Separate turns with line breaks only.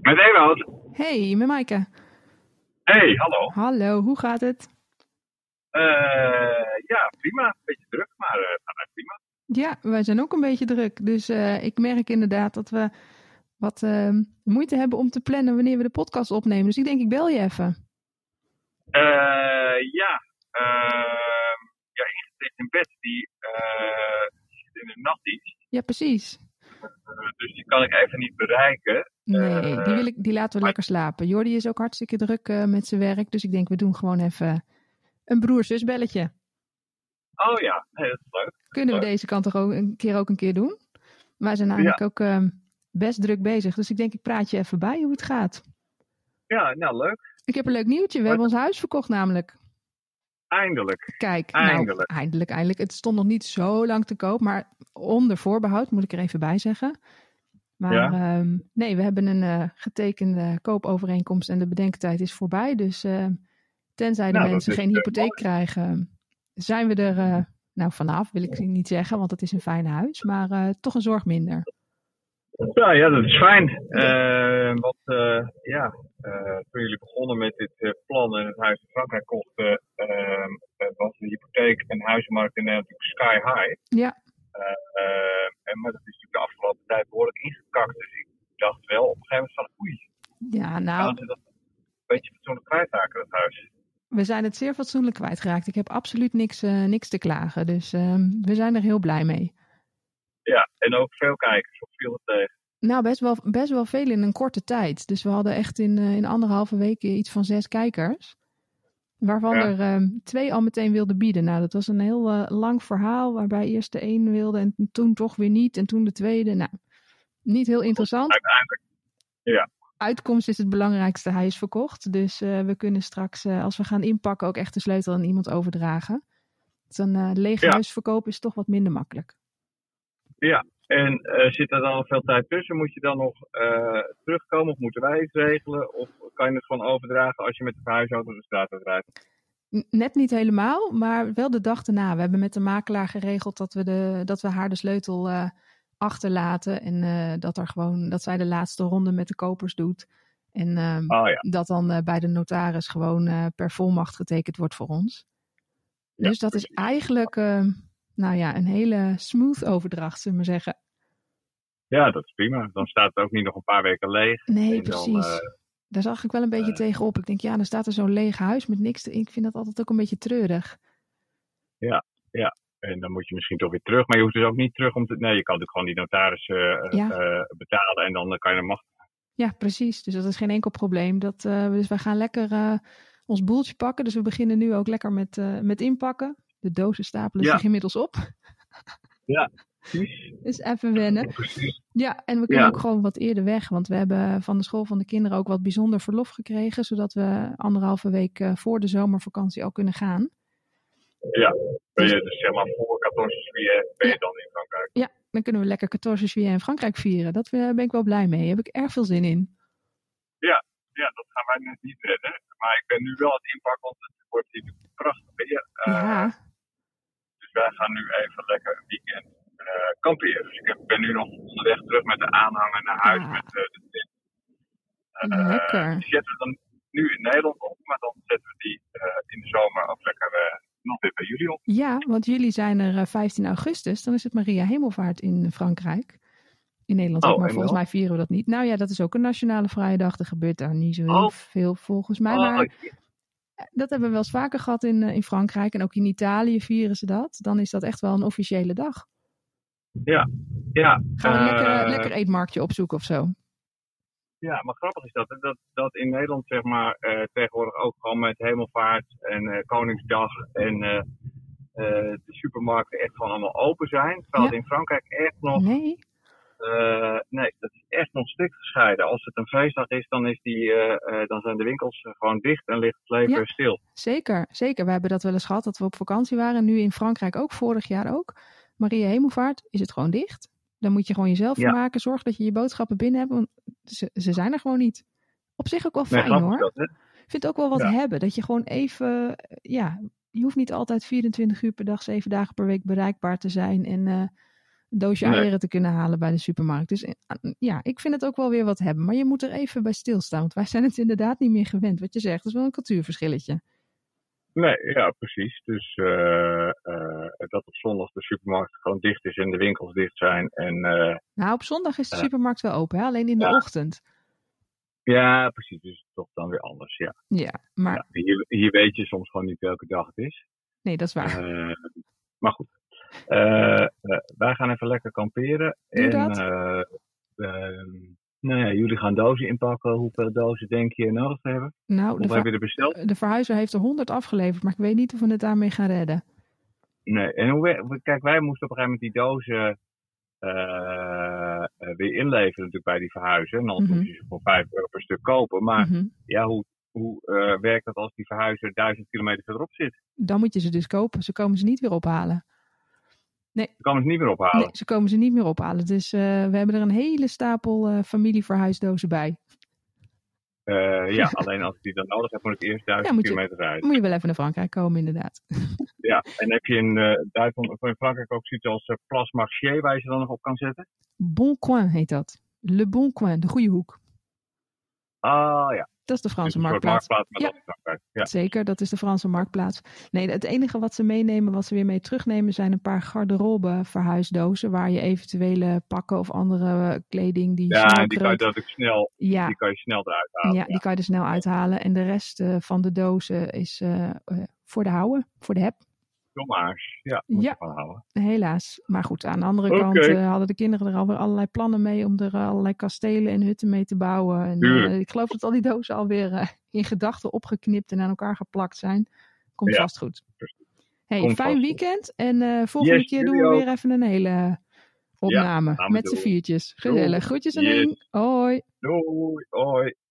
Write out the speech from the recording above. Met Ewout.
Hey, met Maaike.
Hey, hallo.
Hallo, hoe gaat het?
Eh, ja, prima. Beetje druk, maar eh, het gaat echt prima.
Ja, wij zijn ook een beetje druk. Dus eh, ik merk inderdaad dat we wat ehm, moeite hebben om te plannen wanneer we de podcast opnemen. Dus ik denk, ik bel je even.
Eh, ja, ehm, ja, Ingrid ligt in bed. Die eh, zit in de nachtdienst.
Ja, precies.
Eh, dus die kan ik even niet bereiken.
Nee,
Eh,
die, wil ik, die laten we lekker slapen. Jordi is ook hartstikke druk eh, met zijn werk. Dus ik denk, we doen gewoon even een broer-zusbelletje.
Oh ja, nee, dat is leuk.
Kunnen we
Leuk.
deze kant toch ook een keer ook een keer doen? Wij zijn eigenlijk ook ehm, best druk bezig. Dus ik denk, ik praat je even bij hoe het gaat.
Ja, nou leuk.
Ik heb een leuk nieuwtje. We
Wat?
hebben ons huis verkocht namelijk.
Eindelijk.
Kijk,
Eindelijk.
nou, eindelijk, eindelijk. Het stond nog niet zo lang te koop, maar onder voorbehoud moet ik er even bij zeggen. Maar ehm, nee, we hebben een eh, getekende koopovereenkomst en de bedenktijd is voorbij. Dus eh, tenzij de
Nou, dat
mensen
is,
geen
eh,
hypotheek krijgen, zijn we er eh, nou vanaf, wil ik niet zeggen, want het is een fijn huis, maar eh, toch een zorg minder.
Nou ja, dat is fijn. Eh, want eh, ja, eh, toen jullie begonnen met dit eh, plan en het huis in Frankrijk kochten, ehm, eh, was de hypotheek en huizenmarkt in Nederland natuurlijk sky high.
Ja.
Eh, eh, en, maar dat is natuurlijk de afgelopen tijd behoorlijk ingekakt. Dus ik dacht wel op een gegeven moment van oei,
Ja, nou,
gaan ze dat een beetje fatsoenlijk kwijtraken, dat huis.
We zijn het zeer fatsoenlijk kwijtgeraakt. Ik heb absoluut niks, eh, niks te klagen. Dus ehm, we zijn er heel blij mee.
Ja, en ook veel kijkers, of viel het tegen.
Nou, best wel, best wel veel in een korte tijd. Dus we hadden echt in, eh, in anderhalve week iets van zes kijkers. Waarvan
Ja.
er ehm, twee al meteen wilden bieden. Nou, dat was een heel eh, lang verhaal. Waarbij eerst de een wilde en toen toch weer niet. En toen de tweede. Nou, niet heel interessant.
Uiteindelijk,
Uitkomst is het belangrijkste. Hij is verkocht. Dus eh, we kunnen straks, eh, als we gaan inpakken, ook echt de sleutel aan iemand overdragen. Dus een eh leeg
Ja.
huis verkopen is toch wat minder makkelijk.
en eh, zit er dan nog veel tijd tussen? Moet je dan nog eh, terugkomen of moeten wij iets regelen? Of kan je het gewoon overdragen als je met de verhuisauto de straat uitrijdt?
N- Net niet helemaal, maar wel de dag erna. We hebben met de makelaar geregeld dat we, de, dat we haar de sleutel eh, achterlaten. En eh, dat, er gewoon, dat zij de laatste ronde met de kopers doet. En ehm,
Ah ja,
dat dan eh, bij de notaris gewoon eh, per volmacht getekend wordt voor ons.
Ja,
dus dat is eigenlijk ehm, nou ja, een hele smooth overdracht, zullen we maar zeggen.
ja, dat is prima. Dan staat het ook niet nog een paar weken leeg.
Nee,
En dan,
precies.
eh,
Daar zag ik wel een beetje tegenop. Ik denk, ja, dan staat er zo'n leeg huis met niks. erin. Ik vind dat altijd ook een beetje treurig.
En dan moet je misschien toch weer terug. Maar je hoeft dus ook niet terug om te. Nee, je kan natuurlijk gewoon die notaris eh,
Ja.
eh, betalen. En dan eh, kan je de macht.
Ja, precies. Dus dat is geen enkel probleem. Dat, eh, dus wij gaan lekker eh, ons boeltje pakken. Dus we beginnen nu ook lekker met, eh, met inpakken. De dozen stapelen
Ja.
zich inmiddels op.
Precies.
Dus even wennen.
Precies.
Ja, en we kunnen
Ja.
ook gewoon wat eerder weg. Want we hebben van de school van de kinderen ook wat bijzonder verlof gekregen. Zodat we anderhalve week eh, voor de zomervakantie al kunnen gaan.
Ben je dus zeg maar voor 14 juillet ben je dan in Frankrijk.
Dan kunnen we lekker 14 juillet in Frankrijk vieren. Dat eh, ben ik wel blij mee. Daar heb ik erg veel zin in.
Ja, dat gaan wij net niet redden. Maar ik ben nu wel aan het inpakken, want het wordt hier natuurlijk prachtig weer. Eh,
Ja,
Dus wij gaan nu even lekker een weekend eh, kamperen. Dus ik heb- ben nu nog onderweg terug met de aanhanger naar huis.
Ah.
Met, eh, de tent. Eh,
lekker.
Die zetten we dan nu in Nederland op, maar dan zetten we die eh, in de zomer ook lekker eh, nog weer bij jullie op.
Ja, want jullie zijn er eh, 15 augustus. Dan is het Maria Hemelvaart in Frankrijk. In Nederland
Oh,
ook, maar
en
volgens
wel?
mij vieren we dat niet. Nou ja, dat is ook een nationale vrijdag. Er gebeurt daar niet zo heel
Oh.
veel volgens mij.
Oh,
maar dat hebben we wel eens vaker gehad in, eh, in Frankrijk. En ook in Italië vieren ze dat. Dan is dat echt wel een officiële dag.
ja,
Gaan we een lekker,
eh,
lekker eetmarktje opzoeken of zo.
ja, maar grappig is dat, hè, dat, dat in Nederland zeg maar eh, tegenwoordig ook gewoon met Hemelvaart en eh, Koningsdag en eh, eh, de supermarkten echt gewoon allemaal open zijn. Terwijl
Ja.
het in Frankrijk echt nog
Nee?
Eh, nee, dat is echt nog strikt gescheiden. Als het een feestdag is, dan, is die, eh, eh, dan zijn de winkels eh, gewoon dicht en ligt het leven
Ja.
stil.
Zeker, zeker. We hebben dat wel eens gehad dat we op vakantie waren. Nu in Frankrijk ook, vorig jaar ook. Maria Hemelvaart is het gewoon dicht. Dan moet je gewoon jezelf
Ja.
maken. Zorg dat je je boodschappen binnen hebt. Want ze, ze zijn er gewoon niet. Op zich ook wel
Nee,
fijn
grappig
hoor.
dat, hè?
Ik vind het ook wel wat
Ja.
hebben. Dat je gewoon even, eh, ja, je hoeft niet altijd 24 uur per dag, 7 dagen per week bereikbaar te zijn. En eh, doosje
Nee.
eieren te kunnen halen bij de supermarkt. Dus eh, ja, ik vind het ook wel weer wat hebben. Maar je moet er even bij stilstaan. Want wij zijn het inderdaad niet meer gewend. Wat je zegt, dat is wel een cultuurverschilletje.
Nee, ja, precies. Dus eh, eh, dat op zondag de supermarkt gewoon dicht is en de winkels dicht zijn. En eh,
Nou, op zondag is de
Ja.
supermarkt wel open, hè? alleen in de
Ja.
ochtend.
ja, precies. Dus het is toch dan weer anders. Ja.
Ja, maar
Ja, hier, hier weet je soms gewoon niet welke dag het is.
nee, dat is waar.
Eh, maar goed. Eh, eh, wij gaan even lekker kamperen.
Doe
en,
dat.
eh, ehm, nou ja, jullie gaan dozen inpakken. Hoeveel dozen denk je nodig te hebben?
nou, de,
Hoeveel heb je er besteld?
ver- de verhuizer heeft er 100 afgeleverd, maar ik weet niet of we het daarmee gaan redden.
Nee, en hoe, we- we- kijk, wij moesten op een gegeven moment die dozen eh, eh, weer inleveren natuurlijk bij die verhuizer. En dan
Mhm.
moest je ze voor 5 euro per stuk kopen. Maar
Mhm.
ja, hoe, hoe eh, werkt dat als die verhuizer duizend kilometer verderop zit?
Dan moet je ze dus kopen. Ze komen ze niet weer ophalen.
Je kan het niet meer ophalen.
Nee, ze komen ze niet meer ophalen. Dus eh, we hebben er een hele stapel eh familieverhuisdozen bij.
Eh, ja, alleen als je die dan nodig hebt, moet ik eerst
Ja,
duizend
moet je-
kilometer rijden.
Moet je wel even naar Frankrijk komen, inderdaad.
Ja, en heb je in eh, Duitsland of in Frankrijk ook zoiets als eh, plasmarché waar je ze dan nog op kan zetten?
Bon coin heet dat. Le bon coin, de goede hoek.
Ah ja,
Dat is de
dus
Franse
een soort
marktplaats.
marktplaats, maar
Ja.
dan in Frankrijk. Ja.
Zeker, dat is de Franse marktplaats. Nee, het enige wat ze meenemen, wat ze weer mee terugnemen, zijn een paar garderobe verhuisdozen. Waar je eventuele pakken of andere eh, kleding die
Ja,
snel
en die kan je
kreukt.
natuurlijk snel,
ja,
die kan je snel eruit halen.
ja, die kan je er snel uithalen. En de rest eh, van de dozen is eh, eh, voor de houden, voor de heb.
Jongens, ja, moet
Ja.
je van houden.
Helaas. Maar goed, aan de andere
Oké.
kant eh, hadden de kinderen er alweer allerlei plannen mee om er eh, allerlei kastelen en hutten mee te bouwen. En,
Tuurlijk.
eh, ik geloof dat al die dozen alweer eh, in gedachten opgeknipt en aan elkaar geplakt zijn. Komt
Ja.
vast goed. Hey,
Komt
fijn
vast goed.
weekend. En eh, volgende
Yes,
keer doen we
jullie
weer even een hele opname
gaan we
met z'n
doen.
viertjes.
Doei.
Gezellig. Groetjes aan
Yes.
Hoi.
Doei, hoi.